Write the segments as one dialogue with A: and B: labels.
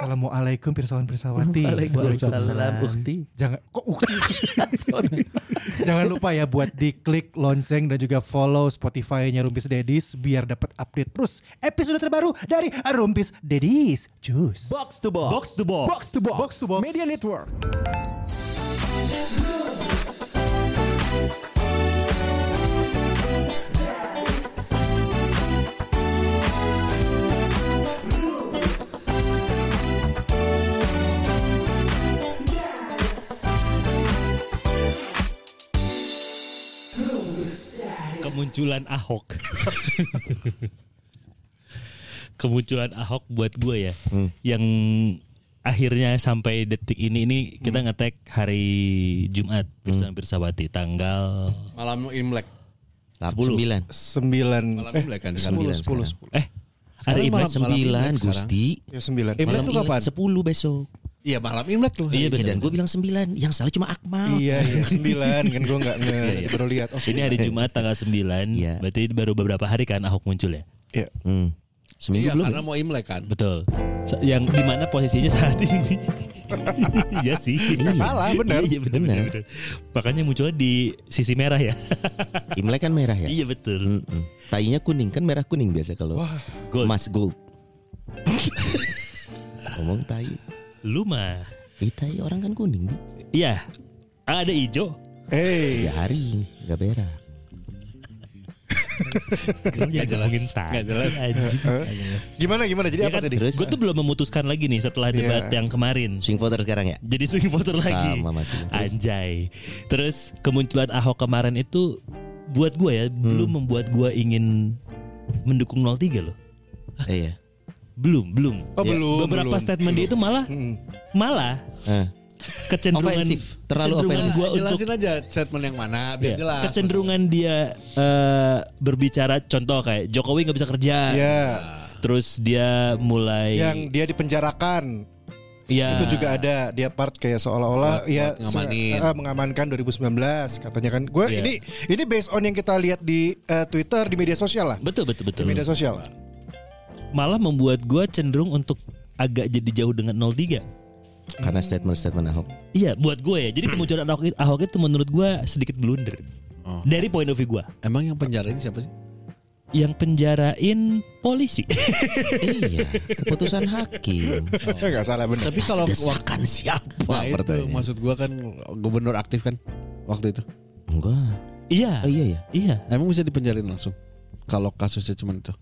A: Assalamualaikum Pirsawan Pirsawati.
B: Waalaikumsalam Ukti.
A: Jangan kok ukti. Jangan lupa ya buat diklik lonceng dan juga follow Spotify-nya Rumpis Dedis biar dapat update terus episode terbaru dari Rumpis Dedis. Cus.
B: Box to box.
C: Box to box.
B: Box to box.
A: Box to box.
B: Media Network.
C: kemunculan Ahok. kemunculan Ahok buat gue ya, yang akhirnya sampai detik ini ini kita ngetek hari Jumat Pirsawan Pirsawati tanggal
D: Malam Imlek.
B: 9.
A: Sembilan.
D: Malam Imlek kan
A: Sepuluh,
B: sembilan
D: sekarang.
A: sepuluh,
B: sekarang.
A: sepuluh.
C: eh hari
D: Sekarang
C: Imlek
D: malam- malam
B: 9
D: Imlek sekarang.
B: Gusti.
A: Ya sembilan.
D: Imlek
B: Malam
D: tuh
B: Imlek
D: kapan?
B: 10 besok.
D: Iya malam Imlek tuh.
C: Iya,
D: Iya.
C: benar.
B: Eh, dan gue bilang 9. Yang salah cuma Akmal.
A: Iya, iya sembilan kan gue nggak nge
C: iya.
A: baru lihat. Oh,
C: ini hari Jumat tanggal 9
B: Iya.
C: berarti baru beberapa hari kan Ahok muncul ya
A: Iya.
B: Hmm. Seminggu
D: Iya
B: belum.
D: karena mau Imlek kan.
C: betul Se- yang dimana posisinya saat ini iya sih
B: Iya.
A: Salah, benar.
C: Iya, benar, benar, benar. makanya munculnya di sisi merah ya
B: Imlek kan merah ya.
C: iya betul
B: Mm-mm. Tainya kuning kan merah kuning biasa kalau
A: Wah.
C: Gold.
B: Mas Gold. Ngomong tai.
C: Lu mah
B: Ih, tai orang kan kuning, Bi.
C: Iya Ada ijo
A: Hey.
B: Ya hari, enggak merah.
A: Iya,
C: Kenapa jadi Iya,
D: jelas,
C: ngomongin Iya,
D: nggak jelas.
A: Gimana gimana? Jadi kan apa tadi?
B: Terus
C: Gue kan? tuh belum memutuskan lagi nih Setelah debat
A: Iya.
C: yang kemarin
B: swing voter sekarang ya?
C: Jadi swing voter lagi
B: Sama masih. Terus,
C: Anjay Terus kemunculan Ahok kemarin itu Buat gue ya Belum membuat gue ingin Mendukung 03 loh
B: eh, iya.
C: Belum Belum
A: Oh,
B: Ya,
A: belum.
C: Beberapa
A: belum. Hmm.
C: statement dia itu malah Malah
B: Eh,
C: Kecenderungan
B: Ofensif, terlalu
C: kecenderungan
B: ofensif.
C: gua untuk
D: jelasin aja statement yang mana biar
C: Iya,
D: jelas.
C: kecenderungan dia eh, berbicara contoh kayak Jokowi nggak bisa kerja,
A: Iya.
C: terus dia mulai
A: Yang dia dipenjarakan.
C: ya,
A: itu juga ada dia part kayak seolah-olah ya
D: buat ngamanin.
A: se- eh, mengamankan 2019 katanya kan gue
C: Iya.
A: ini ini based on yang kita lihat di eh, Twitter di media sosial lah
C: betul betul betul
A: di media sosial
C: malah membuat gue cenderung untuk agak jadi jauh dengan 03
B: karena statement-statement Ahok.
C: iya buat gue ya jadi kemunculan Ahok, Ahok itu menurut gue sedikit blunder
D: Oh.
C: dari point of view gue
D: Emang yang penjara ini siapa sih?
C: yang penjarain polisi
B: iya, keputusan hakim.
A: nggak salah bener
D: Tapi kalau waktu
B: desakan siapa
D: nah, itu
B: pertanyaannya?
D: maksud gua kan gubernur aktif kan waktu itu.
B: Enggak.
C: iya
B: Oh iya ya.
C: iya
D: Emang bisa dipenjarain langsung? Kalau kasusnya cuma itu.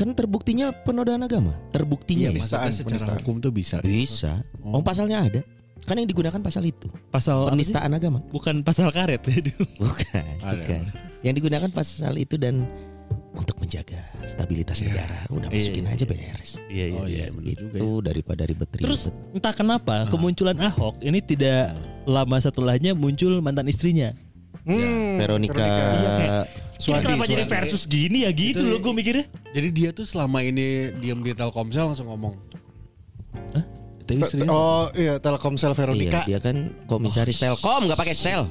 B: Kan terbuktinya penodaan agama. Terbuktinya ya.
D: Iya, maksudnya
A: penistaan,
D: secara Iya,
A: penistaan.
D: hukum tuh bisa.
B: Bisa.
D: Hmm.
B: Oh pasalnya ada. Kan yang digunakan pasal itu.
C: pasal Oh, apa sih?
B: Penistaan agama.
C: bukan pasal karet
B: Bukan,
D: Ada.
B: bukan. Yang digunakan pasal itu dan untuk menjaga stabilitas negara. Udah
C: Iya,
B: masukin
C: iya,
B: aja
C: iya.
B: beres.
C: iya
D: Oh iya benar juga.
B: Itu daripada ribet
C: Terus entah kenapa kemunculan Ahok ini tidak lama setelahnya muncul mantan istrinya.
A: hmm,
B: Veronica
C: Iya, kayak-
A: Suwandi,
C: ini kenapa jadi
D: Suwandi.
C: versus gini ya gitu
D: Itu-
C: loh gue mikirnya.
D: Jadi dia tuh selama ini diam di Telkomsel langsung ngomong. Hah? Itu istrinya.
A: oh iya Telkomsel
B: Iya,
A: Veronica
B: dia kan komisaris Telkom nggak pakai sel.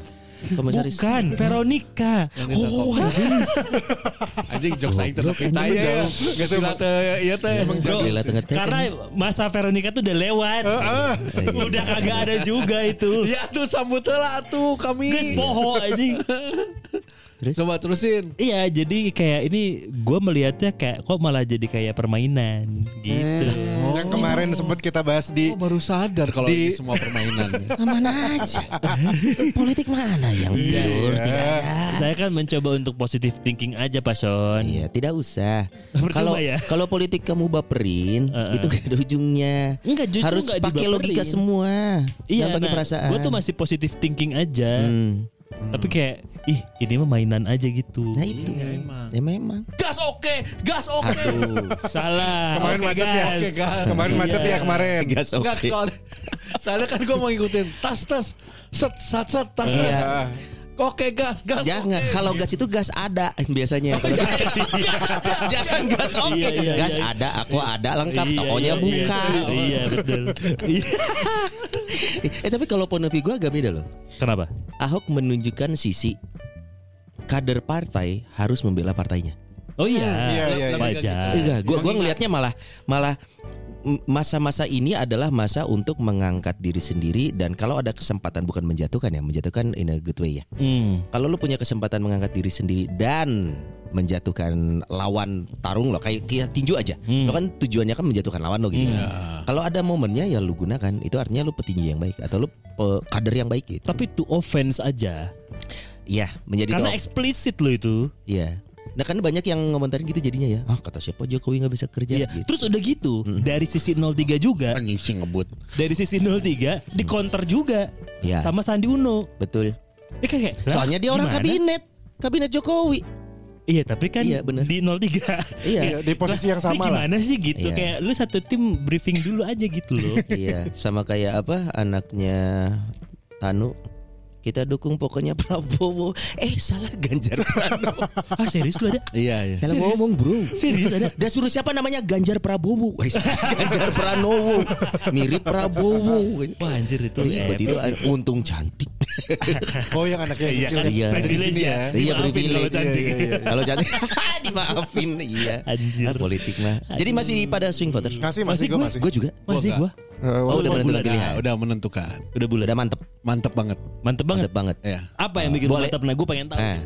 C: Oh,
B: Komisaris
C: Bukan Veronica.
D: Oh, anjing. anjing jokes aing terlalu kita ya. Gak sih teh iya teh emang
C: Bro,
B: Gila, tengah teh.
C: karena masa Veronica tuh udah lewat. udah kagak ada juga itu.
D: Ya tuh sambut lah tuh kami.
C: Guys poho anjing.
D: Coba terusin.
C: Iya jadi kayak ini gue melihatnya kayak kok malah jadi kayak permainan gitu.
A: yang kemarin kemarin sempat kita bahas di
D: Oh, baru sadar kalau
A: Di-
D: ini semua permainan. ya.
B: Ah, Mana aja Politik mana yang
C: Iya.
B: pure Tidak ada
C: Saya kan mencoba untuk positive thinking aja Pak Son.
B: Iya tidak usah
C: Percuma
B: Kalau
C: ya?
B: kalau politik kamu baperin
C: Heeh.
B: Itu gak ada ujungnya
C: Enggak justru
B: Harus
C: enggak
B: pakai
C: dibaperin.
B: logika semua
C: Iya,
B: Jangan pakai
C: nah,
B: perasaan
C: Gue tuh masih positive thinking aja.
B: Hmm.
C: Tapi kayak ih ini mah mainan aja gitu.
B: Nah itu
D: emang.
B: Ya memang
D: gas oke, gas oke.
B: Aduh
C: Salah.
A: kemarin
C: Oke,
A: macet ya.
C: guys.
A: Kemarin macet ya kemarin.
B: Gas oke
D: Enggak soalnya, soalnya kan gue mau ngikutin tas tas set set set tas tas.
B: Iya.
D: Oke gas gas.
B: Jangan
D: oke.
B: Kalau gas itu gas ada eh, Biasanya Kalau- Jangan gas oke
C: Oh, Iya, iya,
B: Gas
C: iya.
B: ada Aku ada lengkap
C: Iya,
B: Tokonya
C: iya,
B: buka
C: Iya, iya betul. Iya.
B: Eh tapi kalau point of view gue agak beda loh
C: Kenapa?
B: Ahok menunjukkan sisi kader partai harus membela partainya.
C: Oh iya,
A: Iya, iya, iya.
C: wajar.
B: Enggak, gua gua ngelihatnya malah malah m- masa-masa ini adalah masa untuk mengangkat diri sendiri dan kalau ada kesempatan bukan menjatuhkan ya, menjatuhkan in a good way ya.
C: Hmm.
B: Kalau lu punya kesempatan mengangkat diri sendiri dan menjatuhkan lawan tarung lo kayak kayak tinju aja.
C: Hmm.
B: Lo kan tujuannya kan menjatuhkan lawan lo gitu. Kalau ada momennya ya lu gunakan. Itu artinya lu petinju yang baik atau lu pe- kader yang baik gitu.
C: Tapi to offense aja.
B: Iya, menjadi
C: Karena
B: tokoh.
C: eksplisit loh itu.
B: Iya. Nah kan banyak yang ngomentarin gitu jadinya ya. Ah kata siapa Jokowi nggak bisa kerja
C: Iya.
B: gitu.
C: Terus udah gitu, dari sisi 03 juga,
D: Anjing sih ngebut.
C: dari sisi 03 di counter juga.
B: Iya.
C: Sama Sandi Uno.
B: Betul.
C: Ya kan, kayak, lah,
B: Soalnya dia orang
C: gimana?
B: kabinet, kabinet Jokowi.
C: Iya, tapi kan
B: Iya, bener.
C: di 03.
B: Iya.
A: Di posisi yang
C: Ini
A: sama lah.
C: gimana sih gitu?
B: Iya.
C: Kayak lu satu tim briefing dulu aja gitu loh.
B: iya, sama kayak apa anaknya Tanu kita dukung pokoknya Prabowo. Eh salah Ganjar Pranowo.
C: ah serius lu ada?
D: Iya iya.
B: salah ngomong bro.
C: Serius ada?
B: Dia suruh siapa namanya Ganjar Prabowo. Wes, Ganjar Pranowo. Mirip Prabowo.
C: Wah anjir itu
B: Ribet itu untung cantik.
A: Oh yang anaknya
C: Iya
A: kecil
C: kan?
A: ya.
B: Iya.
C: Privilege ya.
B: Iya
C: Dimaafin kalau
B: privilege.
C: cantik.
B: Iya, iya, iya. Kalau cantik dimaafin iya.
C: Anjir.
B: Ah, politik mah. Jadi masih pada swing voter.
A: Kasih masih
C: Masih
A: gue
C: gua.
A: masih.
B: Gue juga.
C: Masih gua
D: Gua
B: Oh, udah
C: mau
B: menentukan
C: bulan.
B: pilihan.
D: Udah, udah menentukan.
C: udah bulan.
B: Udah mantep.
D: Mantep banget.
C: Mantep banget.
B: Mantep banget.
D: Ya.
C: Apa yang bikin
B: Boleh.
C: mantap? Nah, gue pengen tahu.
B: Nah,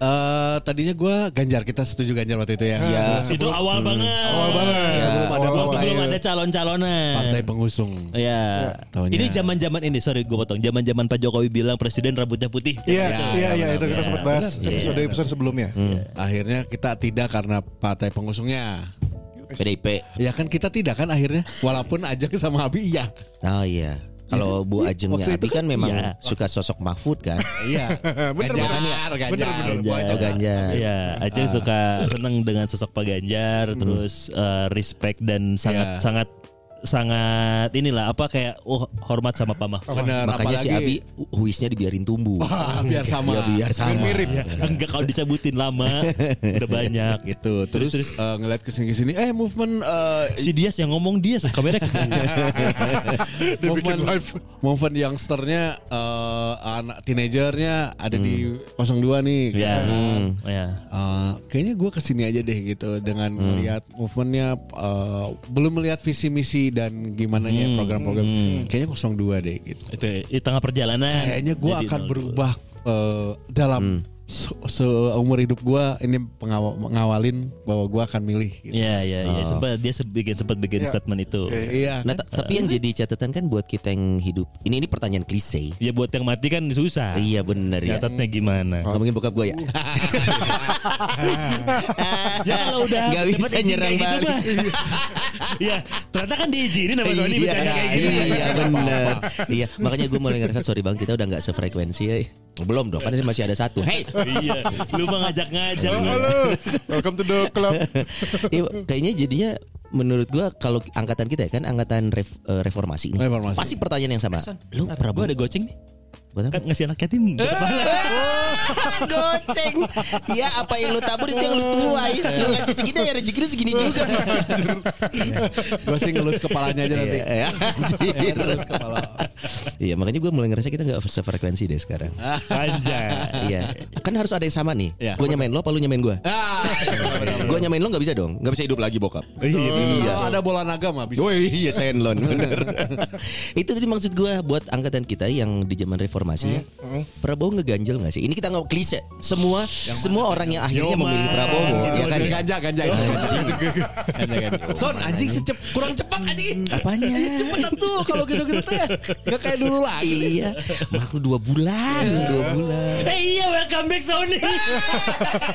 D: Eh, tadinya gue Ganjar kita setuju Ganjar waktu itu ya.
B: Iya.
C: itu awal banget. Awal banget.
D: Sebelum ada
C: Waktu
D: partai,
C: belum ada calon-calonan.
D: partai pengusung.
B: Iya,
C: Ya.
D: Taunya-
C: Ini zaman-zaman ini sorry gue potong. Zaman-zaman Pak Jokowi bilang presiden rambutnya putih.
A: Iya,
D: Iya,
A: iya,
D: iya,
A: iya itu kita
D: iya. Hmm.
A: sempat bahas
C: Iya.
A: episode episode sebelumnya.
D: Akhirnya kita tidak karena partai pengusungnya.
B: PDIP.
D: Ya kan kita tidak kan akhirnya walaupun Ajeng sama Abi iya.
B: Oh iya. Kalau Bu Ajengnya
D: Waktu itu
B: Abi kan memang
C: iya.
B: suka sosok Mahfud kan.
D: Iya.
A: Bener,
D: Ganjar, Ganjar,
B: Ganjar.
D: Gua aja.
B: Oh, Ganjar.
C: Iya, Aceh suka seneng dengan sosok Pak Ganjar, terus eh, respect dan sangat
D: Hmm. Iya.
C: sangat sangat inilah apa kayak oh, hormat sama Pak Mahfud.
D: Bener,
B: Makanya si Abi
D: apalagi-
B: hu- huisnya dibiarin tumbuh.
C: Oh,
D: Wah, Iya, biar sama. Iya.
B: Ya biar sama.
A: mirip.
C: Ya, enggak kalau disebutin lama udah banyak.
D: gitu. Terus, eh, ngeliat kesini kesini, eh movement eh,
C: Si Dias yang ngomong Dias kamera kita.
D: movement movement youngsternya eh, anak teenagernya ada di 02 nih.
C: ya.
B: Hmm.
D: Eh,
C: ya.
D: kayaknya gue kesini aja deh gitu dengan melihat movementnya eh, belum melihat visi misi dan gimana ya program-program kayaknya 02 deh gitu
C: Itu di tengah perjalanan.
D: kayaknya gue
C: Jadi
D: akan
C: nol.
D: berubah eh, dalam se- seumur hidup gue ini pengawa- mengawalin bahwa gue akan milih gitu.
C: Iya, iya,
B: Oh.
C: iya. Sempat dia se- bikin sempat bikin statement itu.
D: Iya.
B: Nah, ta- tapi yang jadi catatan kan buat kita yang hidup. Ini ini pertanyaan klise.
C: Ya buat yang mati kan susah.
B: Iya bener ya.
C: Nyatatnya gimana?
B: Ngomongin bokap gue ya.
C: Ya kalau udah
B: Nggak
C: dapat
B: bisa
C: izin
B: nyerang
C: kayak gitu
B: balik.
C: mah. Iya, ternyata kan diizinin sama Sony
B: iya,
C: bercanda kayak gitu. gini.
B: Iya bener Iya makanya gue mulai ngerasa sorry bang kita udah nggak sefrekuensi ya. Belum dong kan masih ada satu Hei
C: Iya, lu mah ngajak-ngajak. lu.
A: Welcome to the club.
B: Iya, kayaknya jadinya menurut gua kalau angkatan kita ya kan angkatan ref- eh, reformasi nih.
D: Reformasi.
B: Pasti pertanyaan yang sama. Lu
C: Gue
B: Prabowo
C: ada goceng nih.
B: buat
C: Kan
B: apa?
C: ngasih anak
A: Eh.
C: yatim.
B: Goceng. Ya apa yang lu tabur itu yang lu tuai.
D: Iya.
B: Lu ngasih segini ya rezeki lu segini juga.
D: gue Iya. sih ngelus kepalanya aja nanti.
B: Iya, anjir. Iya, makanya gua mulai ngerasa kita nggak sefrekuensi deh sekarang.
C: Anjay.
B: Iya. Kan harus ada yang sama nih.
D: Ah. Iya.
B: Gua nyamain lu apa lu nyamain gua?
D: Ah, bener, bener, bener.
B: Gue nyamain lo nggak bisa dong, nggak bisa hidup lagi bokap.
C: Iya,
D: Iya. ada bola naga mah bisa.
B: Woi iya Senlon bener. Itu tadi maksud gua buat angkatan kita yang di zaman reformasi
D: Hmm,
B: ya. Prabowo ngeganjel nggak sih? Ini kita nggak klise. Semua semua orang yang akhirnya
C: Yo,
B: memilih
C: Mas.
B: Prabowo ya kan.
D: Iya
B: Iya
D: ganja ganja itu. Ganja, ganja. kan? Son anjing secep kurang cepat anjing.
B: Apanya?
D: Cepetan tuh kalau gitu-gitu tuh ya. Gak kayak dulu lah.
B: Iya, mak lu dua bulan, dua bulan.
C: Eh iya welcome back Sony.
A: Ah.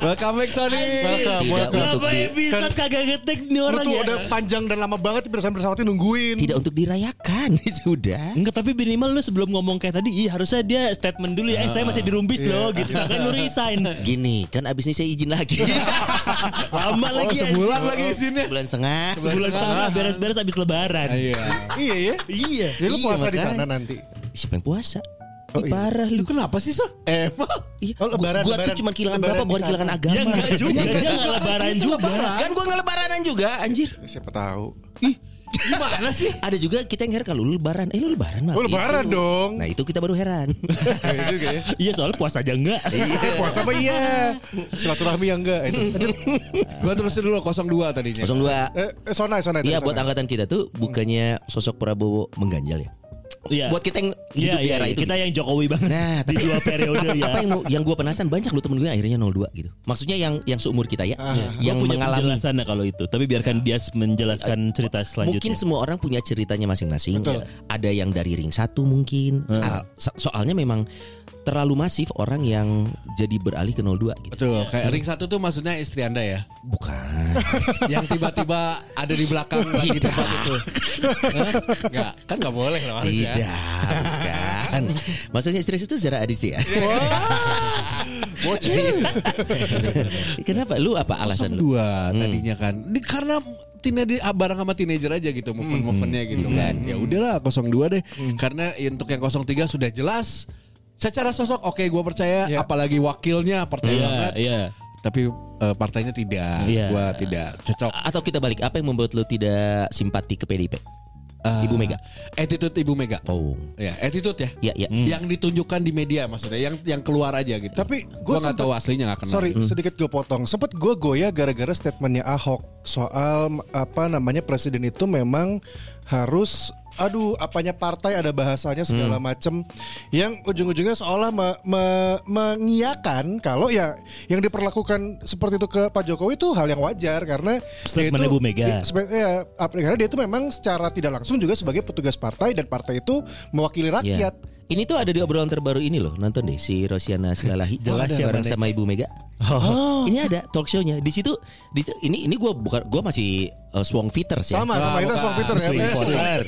D: Welcome back Sony.
B: Tidak untuk
C: Berapa
B: di,
C: episode kagak ngetek nih
A: Kan Lu
C: orang
A: tuh
C: ya?
A: udah panjang dan lama banget bersama bersawati nungguin.
B: tidak untuk dirayakan sudah.
C: Enggak tapi minimal lu sebelum ngomong kayak tadi Ih harusnya dia statement dulu ya Eh saya masih
A: Ah.
C: dirumpis
A: Iya.
C: loh gitu Kan lu resign
B: Gini, kan abis ini saya izin lagi. Oh,
C: Lama lagi ya.
D: sebulan lagi izinnya.
B: Bulan setengah.
C: Sebulan setengah beres-beres abis lebaran
D: Iya.
A: Iya ya.
C: Iya
A: Jadi lu
B: Iya,
A: puasa di
B: makanya.
A: sana nanti.
B: Siapa yang puasa? Ih, parah lu.
D: Lu kenapa sih Son? Emang.
B: Iya,
A: Oh, lebaran,
B: gua, gua
A: lebaran.
B: tuh cuma kehilangan
A: Lebaran
B: bapak,
A: di
B: bukan
A: sana.
B: kehilangan agama.
C: Ya enggak juga Dia enggak lebaran juga
B: Kan gua nggak lebaranan juga, anjir.
A: Siapa tahu.
B: Gimana sih? Ada juga kita yang heran kalau lu lebaran. Eh lu lebaran, Mak.
A: Oh, lebaran
B: Itu.
A: dong.
B: Nah, itu kita baru heran.
A: Iya juga ya.
C: Iya soalnya puasa aja enggak
A: Eh, puasa apa iya? Silaturahmi ya enggak itu.
D: Gua terusin dulu 02
B: 02.
D: tadinya.
A: Eh, eh, sonai sonai.
B: Iya
A: tadi,
B: buat
A: sonai.
B: angkatan kita tuh bukannya sosok Prabowo mengganjal ya.
C: Iya
B: Buat kita yang
C: Iya
B: hidup di
C: iya
B: era
C: iya.
B: itu.
C: Kita yang Jokowi banget
B: Nah,
C: Di
B: tapi-
C: dua periode ya
B: Apa yang mau- yang gue penasaran banyak lu temen gue akhirnya 02 gitu. Maksudnya yang yang seumur kita ya, yang
C: ah. Gua punya
B: mengalami Eh,
C: penjelasan ya kalau itu Tapi biarkan dia menjelaskan cerita selanjutnya
B: Mungkin semua orang punya ceritanya masing-masing. Ada yang dari ring satu mungkin. Ah, so- soalnya memang terlalu masif orang yang jadi beralih ke 02 gitu.
D: Betul, kayak ring satu tuh maksudnya istri anda ya?
B: Bukan.
D: Yang tiba-tiba ada di belakang lagi debat itu. Hah? Enggak, kan enggak boleh lah harusnya.
B: Tidak, bukan. Maksudnya istri itu Zara Adisti ya. Kenapa lu apa alasan lu?
D: dua tadinya kan di, karena tina di barang sama teenager aja gitu movement movementnya
B: Hmm.
D: gitu kan ya udahlah 02 deh karena untuk yang 03 sudah jelas secara sosok oke gua percaya
B: Ya.
D: apalagi wakilnya percaya
C: Iya
D: banget
C: iya
D: tapi eh, partainya tidak
C: Iya.
D: gua tidak cocok
B: Atau kita balik apa yang membuat lu tidak simpati ke PDIP?
D: Eh,
B: Ibu Mega.
D: attitude ibu Mega
B: Oh.
D: ya attitude ya
B: Ya, ya.
D: yang ditunjukkan di media maksudnya yang yang keluar aja gitu
A: Tapi
D: gua
A: gua
D: nggak
A: sempet-
D: tahu aslinya nggak kenal
A: Sorry, sedikit gue potong. Sempet gue goyah gara-gara statementnya Ahok soal m- apa namanya presiden itu memang harus aduh apanya partai ada bahasanya segala macem yang ujung-ujungnya seolah me- me- mengiakan kalau ya yang diperlakukan seperti itu ke Pak Jokowi itu hal yang wajar karena dia
C: Statementnya
A: itu-
C: Bu Mega.
A: i- sebe- ya, ap- karena dia itu memang secara tidak langsung juga sebagai petugas partai dan partai itu mewakili
B: Iya.
A: rakyat
B: Ini tuh ada di obrolan terbaru ini loh. Nonton deh si Rosiana Silalahi
C: Jelas
B: Ada Oh.
C: siapa
B: bareng
C: nih.
B: sama Ibu Mega. Ini ada talk show-nya. Di situ di situ- ini ini gua bukan gua masih uh, swung fitters ya.
A: sama sama
D: Ah,
A: itu
D: bukan.
A: Song Peter ya
C: Swing
A: Eh,
C: voter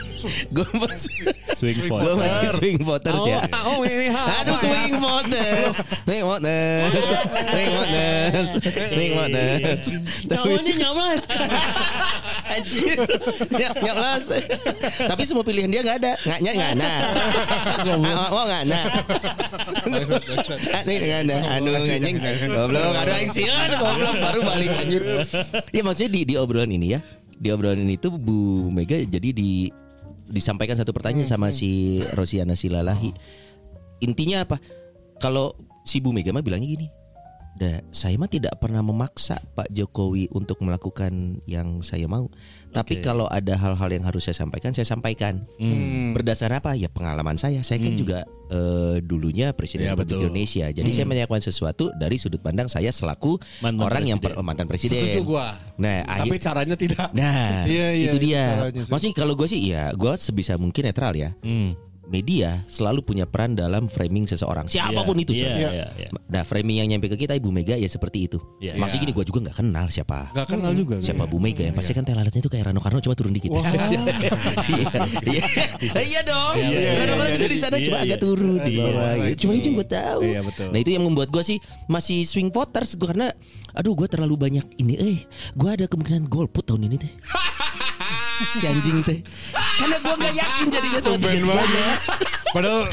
B: Gua masih
C: Swing
B: Gua
C: voter
B: masih swing voters ya.
D: oh ini
B: Aduh swing voters, swing voters, swing voters, swing voters. Tapi
C: Iya, Namanya nyamlas
B: anjir, nyap nyap las. Tapi semua pilihan dia nggak ada, nggak nyat nggak nah. Mau nggak nah. Ini nggak ada, anu anjing, goblok, aduh anjing, aduh, goblok baru balik anjir. Ya maksudnya di di obrolan ini ya, di obrolan ini tuh Bu Mega jadi di disampaikan satu pertanyaan sama si Rosiana Silalahi. Intinya apa? Kalau si Bu Mega mah bilangnya gini, "Da, saya mah tidak pernah memaksa Pak Jokowi untuk melakukan yang saya mau. Tapi kalau ada hal-hal yang harus saya sampaikan, saya sampaikan. Berdasar apa? Ya pengalaman saya. Saya kan juga eh, dulunya presiden
D: Ya,
B: Republik
D: betul.
B: Indonesia. Jadi saya menyampaikan sesuatu dari sudut pandang saya selaku
C: Mantan
B: orang yang per-
C: presiden.
B: mantan presiden.
D: setuju gua
B: Nah, akhir-
D: tapi caranya tidak
B: Nah,
A: Iya, iya,
B: itu
A: itu
B: dia.
A: caranya sih.
B: Maksudnya kalau gue sih, ya gue sebisa mungkin netral ya.
C: Iya,
B: Media selalu punya peran dalam framing seseorang, siapapun itu.
C: Iya
B: coy.
C: iya iya
B: Nah, framing yang nyampe ke kita Ibu Mega ya seperti itu.
C: Iya.
B: Maksudnya gini, gue juga nggak kenal siapa.
D: Gak kenal juga
B: Siapa Bu Mega
D: Iya.
B: yang pasti kan telalatnya itu kayak Rano Karno cuma turun dikit. Iya, iya. Nah, iya dong.
C: Iya, iya,
B: Rano Karno
C: iya.
B: juga di sana cuma
C: Iya,
B: agak
C: iya.
B: turun di
C: Iya,
B: bawah. gitu. Cuma itu yang gue tahu.
D: Iya, betul.
B: Nah itu yang membuat gue sih masih swing voters gue karena aduh gue terlalu banyak ini. Eh gue ada kemungkinan golput tahun ini teh. si anjing teh. Karena gue nggak yakin jadinya sama tiga
D: Padahal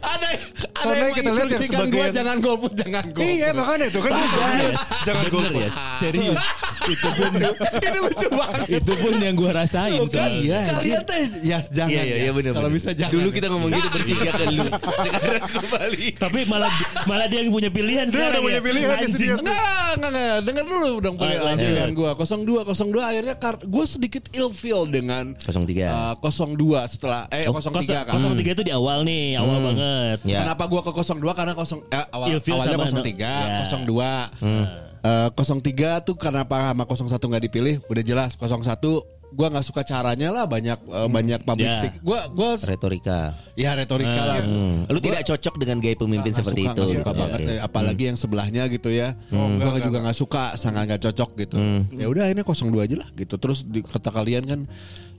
D: ada ada
A: Soalnya
D: yang
A: kita lihat ya
D: menginstruksikan gua
A: sebagai
D: jangan golput, jangan golput.
A: Iya makanya itu kan
C: Yes, jangan bener yes. Serius. itu pun
D: Ini lucu banget.
C: itu pun yang gua rasain soalnya.
B: Iya.
D: Kan Kalian teh ya jangan.
B: Iya iya iya
D: Yas.
B: benar.
D: Kalau bisa jangan. Nah.
B: Dulu kita ngomong gitu bertiga ke lu. Sekarang kembali.
C: Tapi malah malah dia yang punya pilihan ya.
A: Dia udah punya pilihan di sini,
C: Anjing.
B: ya.
A: yes.
D: Enggak, enggak, enggak. Dengar dulu dong
C: Lanjut.
D: pilihan gue. 02, 02 akhirnya kar- gue sedikit ill feel dengan
B: 03.
D: eh, 02 setelah, eh
B: Oh,
D: 03 kan.
C: 03 itu di awal nih, awal banget.
B: Ya.
D: Kenapa gua ke 02 karena 0 eh, awal,
C: Ilfil
D: awalnya
C: sama no-
D: 03,
C: ya.
D: 02. Eh, 03 tuh kenapa sama 01 nggak dipilih? Udah jelas 01 gua nggak suka caranya lah banyak eh, banyak public
C: Ya.
D: speaking. Gua gua
B: Retorika.
D: ya retorika lah.
B: Hmm. Lu
D: Gua
B: tidak cocok dengan gaya pemimpin
D: nggak
B: seperti
D: suka,
B: itu.
D: nggak
B: gitu.
D: suka banget
B: Oke. Hmm.
D: ya, apalagi yang sebelahnya gitu ya.
C: Oh,
D: Gua juga nggak suka, sangat nggak cocok gitu.
B: Hmm.
D: Ya udah ini 02 aja lah gitu. Terus di, kata kalian kan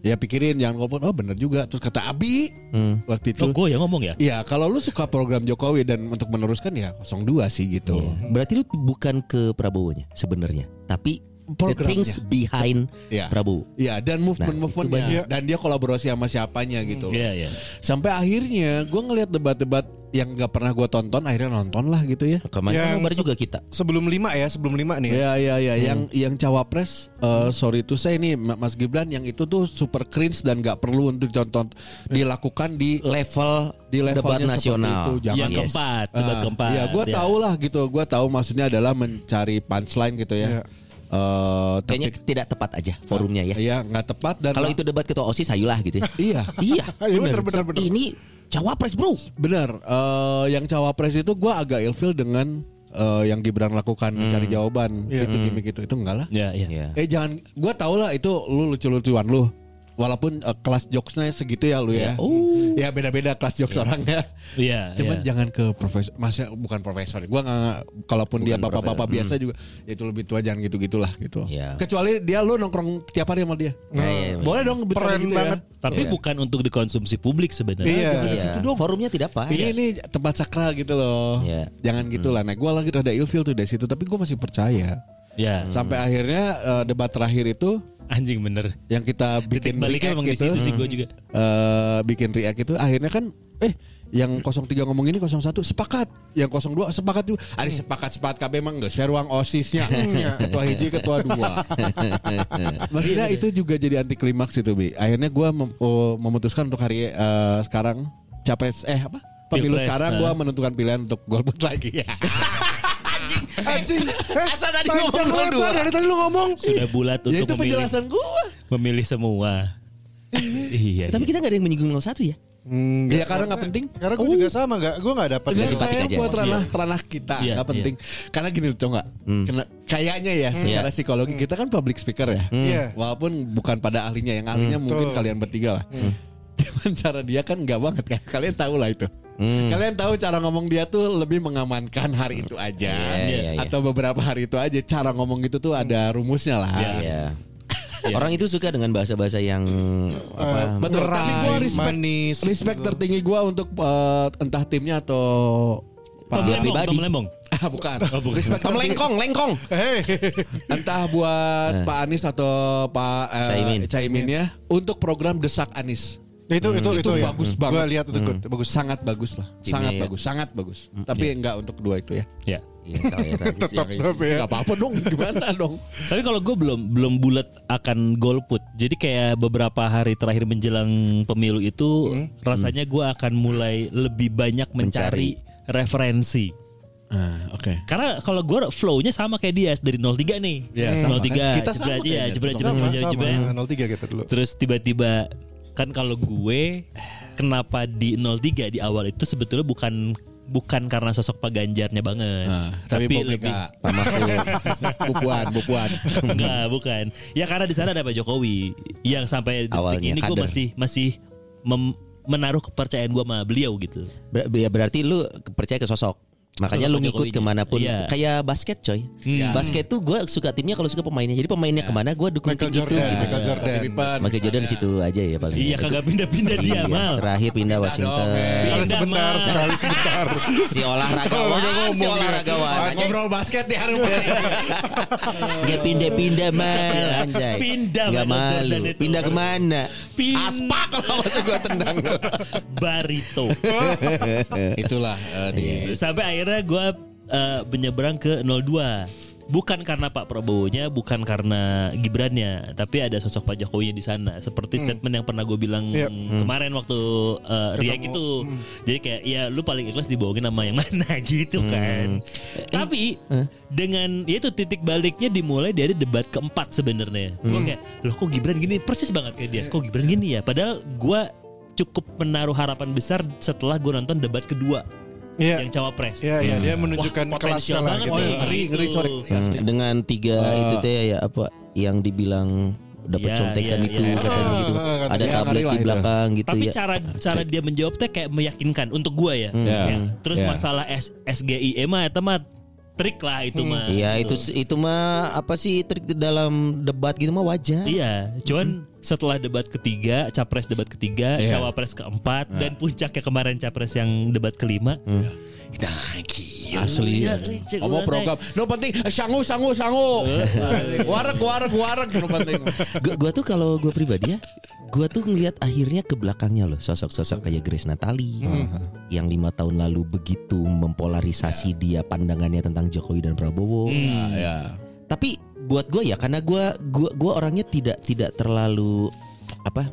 D: ya pikirin jangan golput. Oh bener juga. Terus kata Abi
B: Hmm.
D: waktu itu
C: Oh, gue yang ngomong ya.
D: Ya kalau lu suka program Jokowi dan untuk meneruskan ya 02 sih gitu.
B: Iya. Berarti lu bukan ke Prabowo-nya sebenarnya, tapi the
D: Programnya.
B: things behind
D: Iya.
B: Prabowo.
D: Ya dan
B: Nah, itu
D: movement-movementnya
B: banyak.
D: dan dia kolaborasi sama siapanya gitu.
C: Iya, iya.
D: Sampai akhirnya gue ngelihat debat-debat yang gak pernah gue tonton akhirnya nonton lah gitu ya.
B: Kemarin
A: Yang
B: kan nobar
A: se-
B: juga kita.
A: Sebelum lima ya Sebelum lima
B: Iya.
A: nih
D: Ya ya
B: Hmm.
D: ya yang yang cawapres eh, sorry itu saya ini Ma- Mas Gibran yang itu tuh super cringe dan gak perlu untuk ditonton dilakukan di
B: Iya. Level
D: di levelnya
B: debat
D: seperti
B: nasional. Iya,
D: itu. Jangan
C: yang
B: yes.
C: keempat, debat
D: Ah,
C: keempat. Iya.
D: Ya
B: iya.
D: gue tau lah gitu, gue tahu maksudnya adalah mencari punchline gitu ya.
A: Iya.
D: Eh, tapi
B: Kayaknya tidak tepat aja forumnya ya.
D: Iya nggak tepat dan
B: Kalau itu debat ketua OSIS sayulah gitu ya.
D: iya
B: iya.
A: Bener, bener, bener.
B: Ini cawapres, Bro.
D: benar Eh, yang cawapres itu gue agak ilfil dengan eh, yang Gibran lakukan mencari jawaban itu gimmick itu itu enggak lah
C: Iya, iya.
B: Hmm. Iya.
D: eh jangan gue tau lah itu lu lucu-lucuan lu walaupun eh, kelas jokesnya segitu ya lu
B: Iya.
D: ya
B: Oh.
D: ya beda-beda kelas jokes orangnya
C: Iya,
D: cuman
C: iya.
D: jangan ke profesor masih bukan profesor gue nggak kalaupun dia bapak-bapak biasa juga ya itu lebih tua jangan gitu gitulah gitu
B: Hmm. Iya.
D: kecuali dia lu nongkrong tiap hari sama dia
B: Nah, iya, bener.
D: boleh dong bercanda
A: Keren
D: gitu ya.
A: banget.
C: Tapi bukan untuk dikonsumsi publik sebenarnya.
A: Iya
B: Iya. Forumnya tidak pas.
D: Ini ini tempat sakral gitu loh.
B: Iya.
D: Jangan gitu lah. Nah, gue lagi rada ilfil tuh dari situ, tapi gue masih percaya.
C: Iya.
D: Sampai akhirnya eh, debat terakhir itu
C: Anjing bener.
D: yang kita
C: Titik
D: bikin
C: baliknya
D: react
C: emang di
D: gitu,
C: situ sih gue juga.
D: eh, bikin react itu akhirnya kan, eh yang 03 ngomong ini 01 sepakat, yang 02 sepakat juga. Ada sepakat sepakat KB emang enggak share ruang osisnya. Iya. ketua hiji, ketua dua.
C: Iya,
D: Maksudnya itu juga jadi anti klimaks itu bi. Akhirnya gue memutuskan untuk hari eh, sekarang capres eh apa pemilu
C: Pilpres, eh.
D: sekarang gue menentukan pilihan untuk golput lagi.
A: Eh, Anjing
B: Eh, Asal tadi
A: Panjang
B: ngomong
A: lebar
B: dua.
A: Dari tadi lu ngomong
C: Sudah bulat
D: ya
C: untuk
D: itu
C: memilih,
D: penjelasan gue.
C: memilih semua. iya.
B: Tapi kita gak ada yang menyinggung 01 ya.
D: Ya karena nggak penting.
A: Karena gue juga sama nggak, gue nggak ya. dapat.
D: Ini
B: simpatik
D: kayak
B: aja.
D: buat ranah ranah kita
C: Iya,
D: nggak
C: iya.
D: penting. Karena gini tuh nggak. Kena- Kayaknya ya secara psikologi kita kan public speaker ya.
A: Iya.
D: Walaupun bukan pada ahlinya, yang ahlinya mungkin kalian bertiga lah. Cuman cara dia kan nggak banget kan. Kalian tahu lah itu. Kalian tahu cara ngomong dia tuh lebih mengamankan hari itu aja
B: Iya, iya,
D: atau beberapa hari itu aja. Cara ngomong gitu tuh ada rumusnya lah.
C: Iya.
B: Iya. Orang itu suka dengan bahasa-bahasa yang apa?
D: Betul. Tapi gue
A: Ngerai,
D: respect,
A: manis,
D: respect tertinggi gue untuk eh, entah timnya atau
C: Tom
D: Pak-
C: Lembong, Tom Lembong.
D: Ah bukan.
C: bukan.
D: Respect
B: Tom
D: tertinggi-
B: Lengkong, Lengkong.
D: entah buat
B: Eh.
D: Pak Anies atau Pak eh,
B: Caimin.
D: Caimin ya untuk program desak Anies
A: itu, itu, itu,
D: Itu
A: ya.
D: bagus banget.
A: Gue lihat
B: Hmm.
A: itu good, bagus.
D: sangat bagus lah
B: ya.
D: sangat bagus sangat bagus tapi enggak untuk kedua itu ya
C: Ya.
B: Iya, saya ragu sih.
A: Tapi ya.
D: Enggak apa-apa dong gimana dong
C: Tapi kalau gue belum belum bulat akan golput. Jadi kayak beberapa hari terakhir menjelang pemilu itu rasanya gue akan mulai lebih banyak mencari, referensi.
D: Ah, oke
C: Karena kalau gue flow-nya sama kayak dia dari 03 nih.
D: Iya, sama
C: 03.
D: kan? Kita sama
C: jebret, iya,
D: kayaknya.
C: jebret, jebret,
A: Sama,
C: jebret,
A: sama.
C: jebret.
A: 03 kita dulu.
C: Terus tiba-tiba kan kalau gue kenapa di 03 di awal itu sebetulnya bukan bukan karena sosok Pak Ganjarnya banget.
D: Ah, tapi, Pak Mega Pak Mahfud Bu Puan Bu Puan
C: Enggak, bukan. Ya karena di sana ada Pak Jokowi yang sampai detik
B: Awalnya,
C: ini gue
B: kader.
C: masih masih mem- menaruh kepercayaan gue sama beliau gitu.
B: Ber- ya berarti lu percaya ke sosok.
C: Sosok
B: Makanya lu ngikut
C: Jokowi-nya.
B: kemanapun.
C: Iya. Hmm.
B: Kayak basket coy. Iya. Basket tuh gue suka timnya kalau suka pemainnya. Jadi
C: Iya.
B: pemainnya kemana gue dukung
A: Michael
D: Gitu.
B: tim
A: Jordan,
B: itu. Iya.
A: Michael Jordan.
B: Michael Jordan di situ aja ya paling.
C: Iya, kagak pindah-pindah dia
B: Iya,
C: mal.
B: Terakhir pindah Washington.
A: Sekali
C: Pindah,
A: sebentar,
C: Mal.
A: sekali sebentar.
B: Si olahragawan, si olahragawan. Anjay.
D: ngobrol basket di harum
B: Gak pindah-pindah mal anjay.
C: Pindah,
B: Gak
C: Michael
B: malu.
C: Jordan itu.
B: Pindah kemana?
C: Pin
B: Aspa kalau masuk gua tendang.
C: Barito.
D: Itulah eh, di
B: Iya.
C: gitu. Sampai akhirnya gue menyeberang ke 02. Bukan karena Pak Prabowo-nya, bukan karena Gibran-nya, tapi ada sosok Pak Jokowi-nya di sana. Seperti statement yang pernah gue bilang
A: Yep.
C: kemarin waktu eh, Riak itu. Jadi kayak ya lu paling ikhlas dibohongin sama yang mana gitu kan. Tapi dengan ya itu titik baliknya dimulai dari debat keempat sebenarnya. Gue kayak loh kok Gibran gini persis banget kayak dia. Kok Gibran gini ya? Padahal gue cukup menaruh harapan besar setelah gue nonton debat kedua
A: Iya.
C: yang cawapres. Hmm.
A: Iya, iya, dia menunjukkan
C: Wah,
A: kelasnya
C: potensial
A: lah
C: banget
A: gitu. Iya.
D: Oh,
C: nih.
D: ngeri, ngeri,
C: Gitu.
D: coret.
B: Hmm, dengan tiga itu teh ya apa yang dibilang dapat
C: Iya,
B: contekan
C: iya,
B: itu
C: iya.
B: katanya gitu.
D: Ah, katanya
B: Ada
A: Iya,
D: yang
B: tablet
D: ngeri lah
B: di
D: itu.
B: belakang gitu
C: Tapi
B: ya.
C: cara cara dia menjawab teh kayak meyakinkan untuk gua ya.
B: Hmm.
D: Iya.
C: Ya. Terus
D: Iya.
C: masalah S, SGI mah eta mah trik lah itu
A: Hmm.
C: mah. gitu.
B: Iya itu itu mah apa sih trik di dalam debat gitu mah wajar.
C: Iya,
B: Hmm.
C: cuman setelah debat ketiga, capres debat ketiga,
B: Iya.
C: cawapres keempat, dan puncaknya kemarin capres yang debat kelima.
B: Hmm.
C: Nah, gila.
D: Asli ya.
C: Cek
D: Omong
C: ulang,
D: program. No penting eh, sangu sangu sangu. Wareg wareg wareg no penting.
B: Gua, gua tuh kalau gua pribadi ya, gua tuh ngelihat akhirnya ke belakangnya loh sosok-sosok kayak Grace Natali yang lima tahun lalu begitu mempolarisasi dia pandangannya tentang Jokowi dan Prabowo. Iya.
D: Nah, ya.
B: Tapi buat gua ya karena gua gua gua orangnya tidak tidak terlalu apa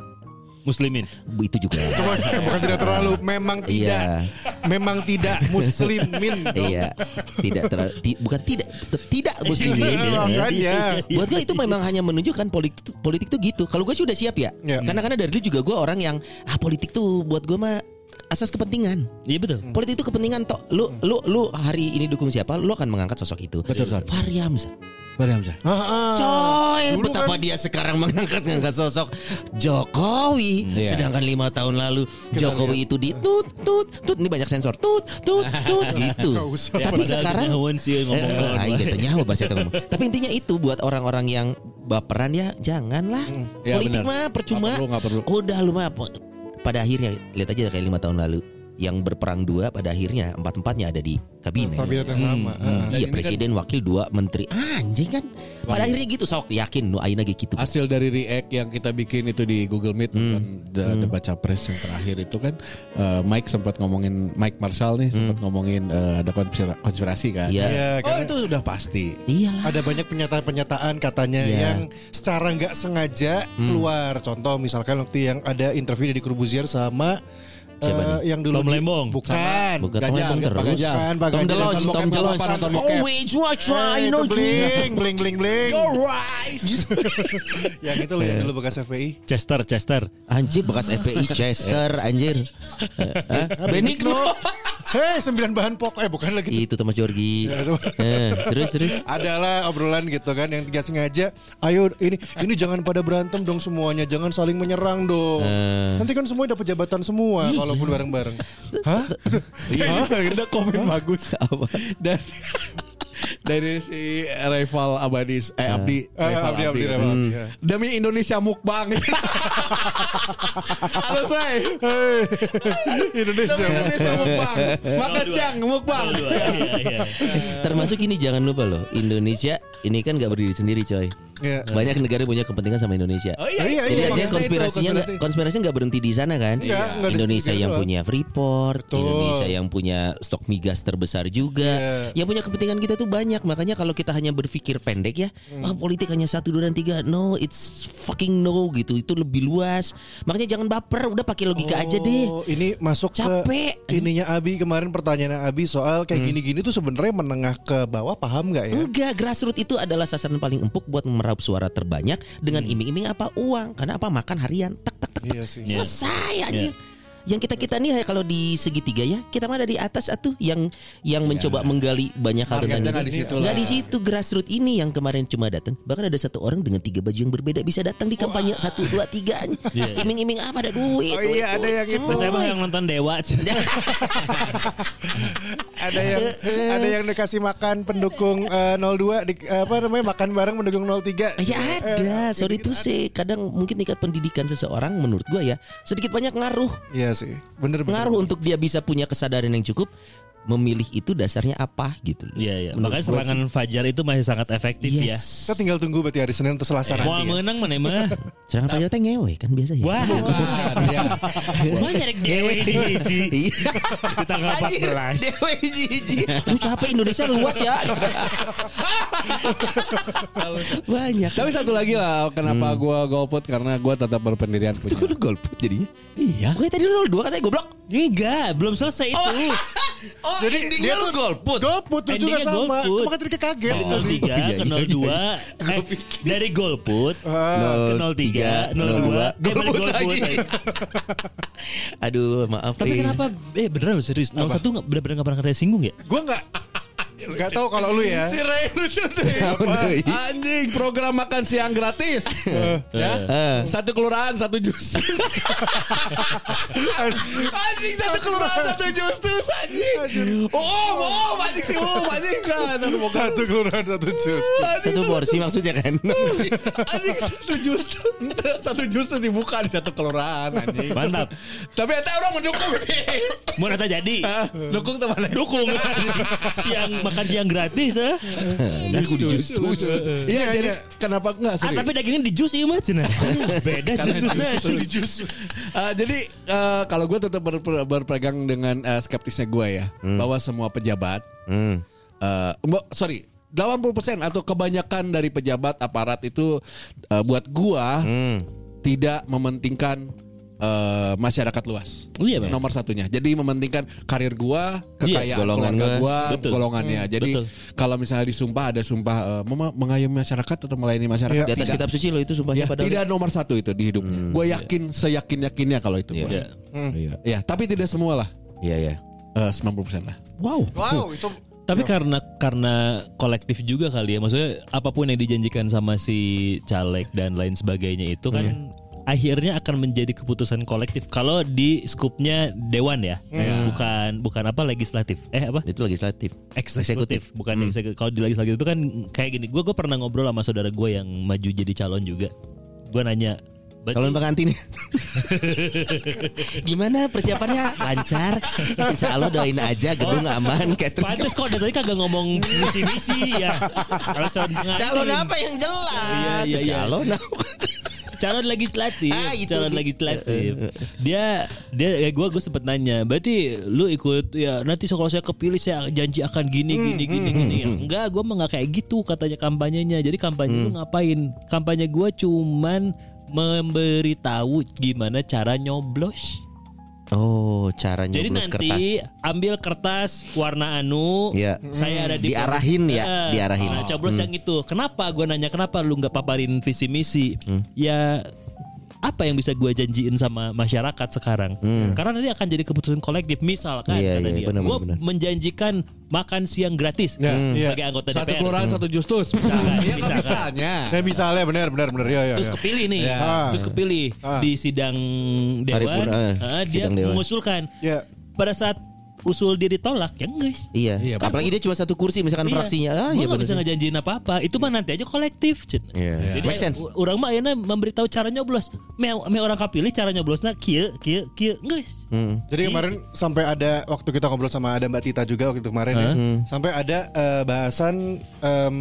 C: Muslimin.
B: itu juga
A: iya. Bukan tidak terlalu, memang tidak,
B: Iya.
A: memang tidak muslimin.
B: iya tidak terlalu ti- bukan tidak te- tidak muslimin
A: Iya, makanya.
B: buat
A: Iya,
B: gue itu memang hanya menunjukkan politik politik tuh gitu kalau gue sih udah siap ya
A: Iya.
B: karena karena dari dulu juga gue orang yang ah politik tuh buat gue mah asas kepentingan
C: Iya betul.
A: Hmm.
B: politik itu kepentingan toh lu lu lu hari ini dukung siapa lu akan mengangkat sosok itu
D: Betul, Son.
B: Fahri Hamzah
D: Mari Hamzah.
A: Ah,
B: coy
A: dulu kan-
B: betapa dia sekarang mengangkat ngangkat sosok Jokowi
D: Iya.
B: sedangkan lima tahun lalu Jokowi itu ditut tut tut ini banyak sensor tut tut tut gitu
A: Nggak usah.
B: tapi
C: Padahal
B: sekarang
C: nyahuan sih ngomong.
B: Eh, eh, aing gak tau nyawa bahasa itu ngomong. Tapi intinya itu buat orang-orang yang baperan ya janganlah.
D: ya,
B: Politik
D: benar.
B: mah percuma.
D: Nggak perlu, nggak perlu.
B: Udah lu mah po- pada akhirnya lihat aja kayak lima tahun lalu yang berperang dua pada akhirnya empat empatnya ada di kabinet.
A: Kabinet yang sama. heeh.
B: Iya
D: Dan ini
B: presiden wakil dua menteri anjing kan. Pada akhirnya gitu sok yakin nu aina gitu.
D: Hasil dari react yang kita bikin itu di Google Meet kan de- debat capres yang terakhir itu kan eh, Mike sempat ngomongin Mike Marshall nih sempat ngomongin eh, ada konspira- konspirasi kan.
B: Iya.
A: Iya,
D: Oh
A: karena-
D: itu sudah pasti.
B: Iyalah.
A: ada banyak pernyataan-pernyataan katanya
B: Iya. Hmm.
A: yang secara nggak sengaja keluar. Contoh misalkan waktu yang ada interview di Corbuzier sama
B: Siapa
A: eh, yang dulu di-
C: Tom Lembong.
A: Bukan.
B: Bukan Tom
D: Gajah,
B: Lembong
D: Pak
B: terus.
D: Gajah.
A: Bukan, Pak
D: Tom
A: Gajah.
D: DeLonge,
A: Nonton
D: Tom
A: bokep,
D: DeLonge.
A: nonton
D: Nonton
A: bokep.
D: bokep.
B: Always watch
A: Eh,
B: I
A: itu
B: know you.
A: bling, bling, bling, bling. yang itu loh
B: Iya.
A: yang dulu bekas FPI.
C: Chester, Chester.
B: Anjir bekas FPI Chester anjir. Eh, Hah? Benigno.
A: Hei, sembilan bahan pokok. Eh, bukan lagi.
B: Itu Gitu, Thomas Jorgi.
A: Ya, Thomas.
B: Eh, terus terus.
A: adalah obrolan gitu kan yang tidak sengaja ayo ini ini jangan pada berantem dong semuanya jangan saling menyerang dong
B: Eh.
A: nanti kan semua dapat jabatan
B: Iya.
A: semua walaupun bareng-bareng hah
D: Iya, ada komen bagus dari dari si rival Abadi eh Abdi
A: Eh,
D: rival
A: Abdi,
D: Abdi,
A: Abdi, rival Abdi, ya.
D: demi Indonesia mukbang halo saya
A: Hei, Indonesia
D: demi Indonesia mukbang makan siang mukbang
C: Iya, iya.
B: Termasuk ini jangan lupa loh Indonesia ini kan gak berdiri sendiri coy
A: Iya.
B: Banyak negara punya kepentingan sama Indonesia
A: Iya,
B: Jadi
A: iya,
B: artinya
A: makanya
B: konspirasinya nggak konspirasinya nggak berhenti di sana kan?
A: Iya, nggak di-
B: Indonesia
A: di-
B: yang
A: di-
B: punya Freeport,
A: Betul.
B: Indonesia yang punya stok migas terbesar juga.
A: Iya.
B: Yang punya kepentingan kita tuh banyak. Makanya kalau kita hanya berpikir pendek ya,
A: Hmm.
B: ah, politik hanya satu dua dan tiga. No, it's fucking no gitu. Itu lebih luas. Makanya jangan baper, udah pakai logika aja deh.
A: Oh, ini masuk
B: Capek.
A: ke ininya Abi kemarin pertanyaan Abi soal kayak gini-gini tuh sebenarnya menengah ke bawah paham nggak ya?
B: Enggak, grassroots itu adalah sasaran paling empuk buat meraup suara terbanyak dengan iming-iming apa uang, karena apa makan harian, tak tak tak, tak.
A: Iya sih.
B: selesai anjir. Yang kita kita nih kalau di segitiga ya kita mah ada di atas atuh yang yang mencoba menggali banyak hal tentang
D: Marketnya
B: itu.
D: nggak di situ
B: Nggak
D: lah.
B: di situ grassroots ini yang kemarin cuma datang. Bahkan ada satu orang dengan tiga baju yang berbeda bisa datang di kampanye satu dua tiga. Iming-iming apa ada duit.
A: Oh iya, ada
B: duit, duit,
A: yang itu.
C: Terus
B: coy.
C: emang yang nonton Dewa.
A: Ada yang
B: Eh,
A: ada yang dikasih makan pendukung eh, 02 di, apa namanya makan bareng pendukung 03.
B: Ya
A: Eh,
B: ada, sorry tuh sih kadang mungkin tingkat pendidikan seseorang menurut gua ya sedikit banyak ngaruh,
A: Iya sih. Bener bener.
B: ngaruh untuk dia bisa punya kesadaran yang cukup memilih itu dasarnya apa gitu loh.
C: Iya iya.
B: Menurut
C: Makanya
B: gua
C: serangan Fajar itu masih sangat efektif
B: sih,
C: ya.
B: yes.
A: Kita tinggal tunggu berarti hari Senin atau Selasa
C: Wah
A: nanti. ya.
C: menang mana mah.
B: Serangan Fajar teh ngewe kan biasa ya.
C: Wah.
D: Bukan, ya.
C: Wah nyari dewe di hiji.
B: Iya.
C: Di tanggal
B: Anjir,
C: 14.
B: Dewa hiji-hiji. Lu capek Indonesia luas ya. Banyak.
D: Tapi satu lagi lah kenapa gua golput karena gua tetap berpendirian punya.
B: Kok lu golput jadinya? Iya. Gue tadi lu 02 katanya goblok.
C: Enggak, belum selesai itu.
B: Oh, Jadi dia
D: iya.
B: lu golput.
A: Golput tuh juga
C: Endingnya
A: sama.
C: golput.
A: Itu makanya tadi kekaget.
B: Oh.
C: Dari
A: Tadi.
C: 03
B: Iya,
C: ke 02 eh, Dari golput
B: Ah.
C: Ke 03 02 Dia Eh, balik
B: golput lagi.
C: lagi.
B: Aduh, maaf.
C: Tapi
B: eh.
C: kenapa Eh beneran loh serius 01 nggak- bener-bener gak pernah katanya singgung ya
A: Gue nggak nggak tahu kalau lu ya.
D: Ray lucu deh.
B: Tahun deui.
D: Anjing program makan siang gratis. ya.
B: Eh.
D: Satu kelurahan satu justus. anjing satu kelurahan satu justus anjing. Oh, oh, oh, anjing sih, oh, anjing kan.
A: Satu kelurahan satu jus.
B: Satu porsi maksudnya kan.
D: Anjing satu justus. Satu justus dibuka di satu kelurahan anjing.
C: Mantap
D: Tapi eta orang mendukung sih.
C: Mau nata jadi
B: Ah.
D: Dukung teman.
C: Dukung Siang makan siang gratis eh.
D: Iya, jadi kenapa enggak
C: Ah,
D: serius?
C: tapi dagingnya di jus iya mah cina. Beda jus
D: Karena
C: jus.
D: jus. Eh, jadi eh, kalau gue tetap ber- berpegang dengan eh, skeptisnya gue ya
C: Hmm.
D: bahwa semua pejabat,
B: Hmm.
D: eh, mo- sorry. 80% atau kebanyakan dari pejabat aparat itu eh, buat gua
B: Hmm.
D: tidak mementingkan eh, masyarakat luas.
C: Oh iya, Bang. Iya,
D: Nomor satunya. Jadi mementingkan karir gua, kekayaan
B: golongan
D: keluarga
B: gua.
D: gua,
C: Betul. Hmm,
D: golongannya. Jadi
C: betul.
D: kalau misalnya disumpah ada sumpah eh, mema- mengayomi masyarakat atau melayani masyarakat
C: Iya.
B: Di atas
D: tidak
B: kitab suci lo itu
D: Ya,
B: sumpahnya pada
D: tidak nomor satu itu di hidup. Gue yakin, seyakin yakinnya kalau itu. gua.
C: Hmm, Iya.
A: Hmm.
B: Iya.
D: Ya, tapi tidak semua lah.
B: Iya, iya.
D: Eh, 90% lah.
B: Wow.
A: Wow itu
C: Tapi karena karena kolektif juga kali ya, maksudnya apapun yang dijanjikan sama si caleg dan lain sebagainya itu kan akhirnya akan menjadi keputusan kolektif. Kalau di skupnya dewan ya, bukan bukan apa legislatif, eh apa
B: Itu legislatif.
C: eksekutif, bukan eksekutif. Kalau di legislatif itu kan kayak gini. Gue gue pernah ngobrol sama saudara gue yang maju jadi calon juga. Gue nanya. "Berarti
B: Calon pengantin Gimana persiapannya lancar Insya Allah doain aja gedung aman catering
C: Pantes kok dari tadi kagak ngomong misi-misi ya. Kalau calon pengantin.
B: Calon apa yang jelas
C: Iya, iya, iya.
B: Calon apa
C: Calon legislatif,
B: Ah, itu
C: calon
B: dia.
C: legislatif. Dia dia ya gua gua sempet nanya, berarti lu ikut ya nanti kalau saya kepilih saya janji akan
B: Hmm,
C: gini gini gini gini. Ya, Enggak, gua mah nggak kayak gitu katanya kampanyenya. Jadi kampanye
B: Hmm.
C: lu ngapain? Kampanye gua cuman memberitahu gimana cara nyoblos.
B: Oh cara
C: Jadi
B: nyoblos
C: nanti
B: kertas
C: ambil kertas warna anu,
B: Iya.
C: saya ada di
B: Diarahin ya,
C: Eh,
B: diarahin. Hmm.
C: nah, coblos yang itu. Kenapa gue nanya kenapa lu nggak paparin visi misi?
B: Hmm.
C: Ya apa yang bisa gue janjiin sama masyarakat sekarang? Karena nanti akan jadi keputusan kolektif. Misalkan
B: Hmm. Iya,
C: kata
B: iya,
C: dia,
B: benar,
C: gue
B: benar, Hmm. benar.
C: menjanjikan makan siang gratis
D: Ya,
C: Hmm.
A: Iya.
C: sebagai anggota
D: Satu
C: DPR.
D: kelurahan, satu justus.
C: Misalkan,
D: Iya,
C: misalkan.
D: misalnya.
A: Ya misalnya benar benar benar ya ya.
C: Terus
A: ya.
B: Iya.
C: kepilih nih,
D: Ya.
C: terus kepilih
A: Ah.
C: di sidang dewan,
B: Paripurna, eh,
C: eh, dia
B: sidang dewan.
C: mengusulkan.
A: Ya.
C: Pada saat usul dia ditolak, ya guys.
B: Iya,
D: Iya,
B: Apalagi dia cuma satu kursi Misalkan fraksinya ah,
C: Gue
B: iya,
C: gak
B: bener
C: bisa
B: sih.
C: ngejanjiin apa-apa Itu mah nanti aja kolektif Cen.
B: Iya. Make sense
C: u- Orang mah ayeuna memberitahu cara nyoblos Me, me orang kapilih cara nyoblosnya Kieu, kieu, kieu Nges
B: Hmm.
A: Jadi kemarin sampai ada waktu kita ngobrol sama ada Mbak Tita juga waktu itu kemarin ya.
C: Hmm.
A: Sampai ada eh, bahasan em,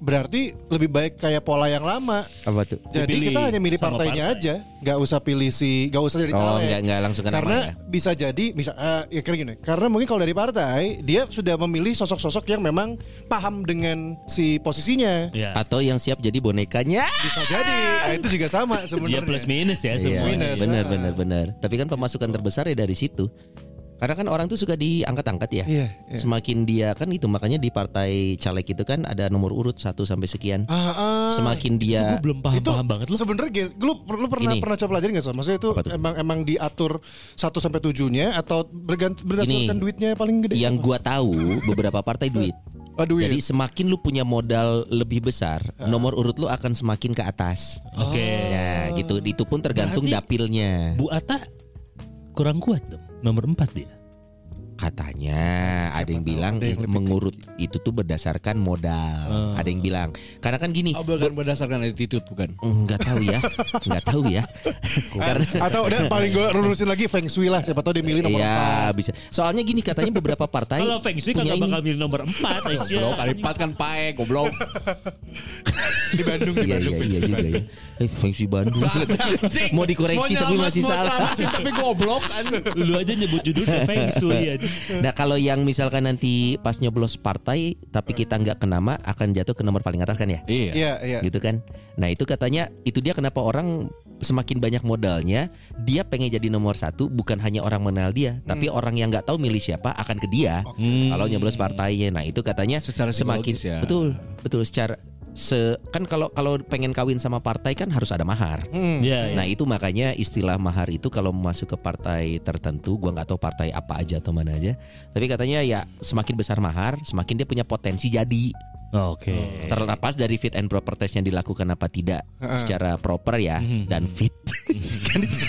A: berarti lebih baik kayak pola yang lama.
C: uh,
B: Apa tuh
A: Jadi
C: Dipilih
A: kita hanya milih
C: sama
A: partainya
C: partai.
A: aja, nggak usah pilih si, nggak usah jadi
B: Oh,
C: ya.
A: calon.
B: nggak- nggak langsung ke nama
A: Karena
B: ya.
A: bisa jadi bisa eh, ya kayak gini. Karena mungkin kalau dari partai dia sudah memilih sosok-sosok yang memang paham dengan si posisinya.
C: Ya
B: Atau yang siap jadi bonekanya
A: Bisa jadi nah, itu juga sama
C: Dia
A: sebenarnya.
C: plus minus ya
B: Iya,
C: semua
A: minus.
B: benar
A: Ah.
B: benar benar. Tapi kan pemasukan terbesar ya dari situ. Karena kan orang tuh suka diangkat-angkat ya.
A: Iya, iya.
B: Semakin dia kan itu makanya di partai caleg itu kan ada nomor urut satu sampai sekian.
A: Ah, ah.
B: Semakin
C: Gue
B: dia
C: belum paham-paham banget loh
A: Sebenernya gini, lu, lu pernah
B: Gini.
A: pernah coba pelajarin gak so? Maksudnya itu
B: Apa tuh?
A: emang emang diatur 1 sampai 7-nya atau bergant- berdasarkan
B: Gini.
A: duitnya paling gede?
B: yang gua tahu beberapa partai duit.
A: Oh, Ah. duit.
B: Jadi semakin lu punya modal lebih besar, nomor urut lu akan semakin ke atas.
A: Oh.
C: Oke
B: Ya, gitu. Itu pun tergantung
C: Berarti-
B: dapilnya.
C: Bu Ata kurang kuat dong Nomor 4 dia
B: Katanya ada yang bilang
A: ada yang
B: eh,
A: lebih Ah.
B: mengurut itu tuh berdasarkan modal. Ada yang bilang karena kan gini.
D: Oh, bukan berdasarkan attitude bukan.
B: Nggak tahu ya, nggak tahu ya. karena
A: Atau udah paling gue lurusin lagi Feng Shui lah Siapa tau dia milih nomor empat.
B: Iya bisa. Soalnya gini katanya beberapa partai
C: Kalau Feng Shui
B: punya
C: kagak
B: ini.
C: bakal milih nomor 4 Aisyah.
D: Goblok kali empat kan pae goblok.
A: Di Bandung di
B: Iya
A: Bandung
B: iya
A: Feng
B: iya
A: Shui.
B: juga ya. Eh, Feng Shui Bandung.
D: Anjing.
B: mau dikoreksi
D: Mau
B: tapi
D: nyelamat,
B: masih
D: mau
B: salah.
D: selamatin, tapi goblok anjing.
C: Lu aja nyebut judulnya Feng Shui anjing.
B: Nah kalau yang misalkan nanti pas nyoblos partai tapi kita nggak kenama akan jatuh ke nomor paling atas kan ya?
D: Iya.
A: Iya iya
B: Gitu kan? Nah itu katanya itu dia kenapa orang semakin banyak modalnya dia pengen jadi nomor satu bukan hanya orang mengenal dia tapi orang yang nggak tahu milih siapa akan ke dia kalau
C: Hmm.
B: nyoblos partainya. Nah itu katanya
D: Secara
B: semakin
D: psikologis ya.
B: betul betul secara se kan kalau kalau pengen kawin sama partai kan harus ada mahar.
C: Iya. iya.
B: Nah itu makanya istilah mahar itu kalau masuk ke partai tertentu, gua nggak tahu partai apa aja atau mana aja. Tapi katanya ya semakin besar mahar, semakin dia punya potensi jadi.
C: Oke.
B: Oh. Terlepas dari fit and proper test yang dilakukan apa tidak secara proper ya
C: Mhm.
B: dan fit. kan itu,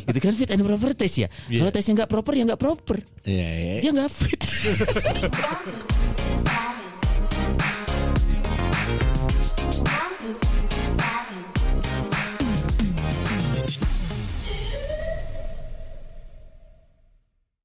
B: itu kan fit
C: Iya. Eh.
B: and proper test ya. Kalau tesnya nggak proper ya nggak proper,
D: Iya, iya.
B: dia nggak fit.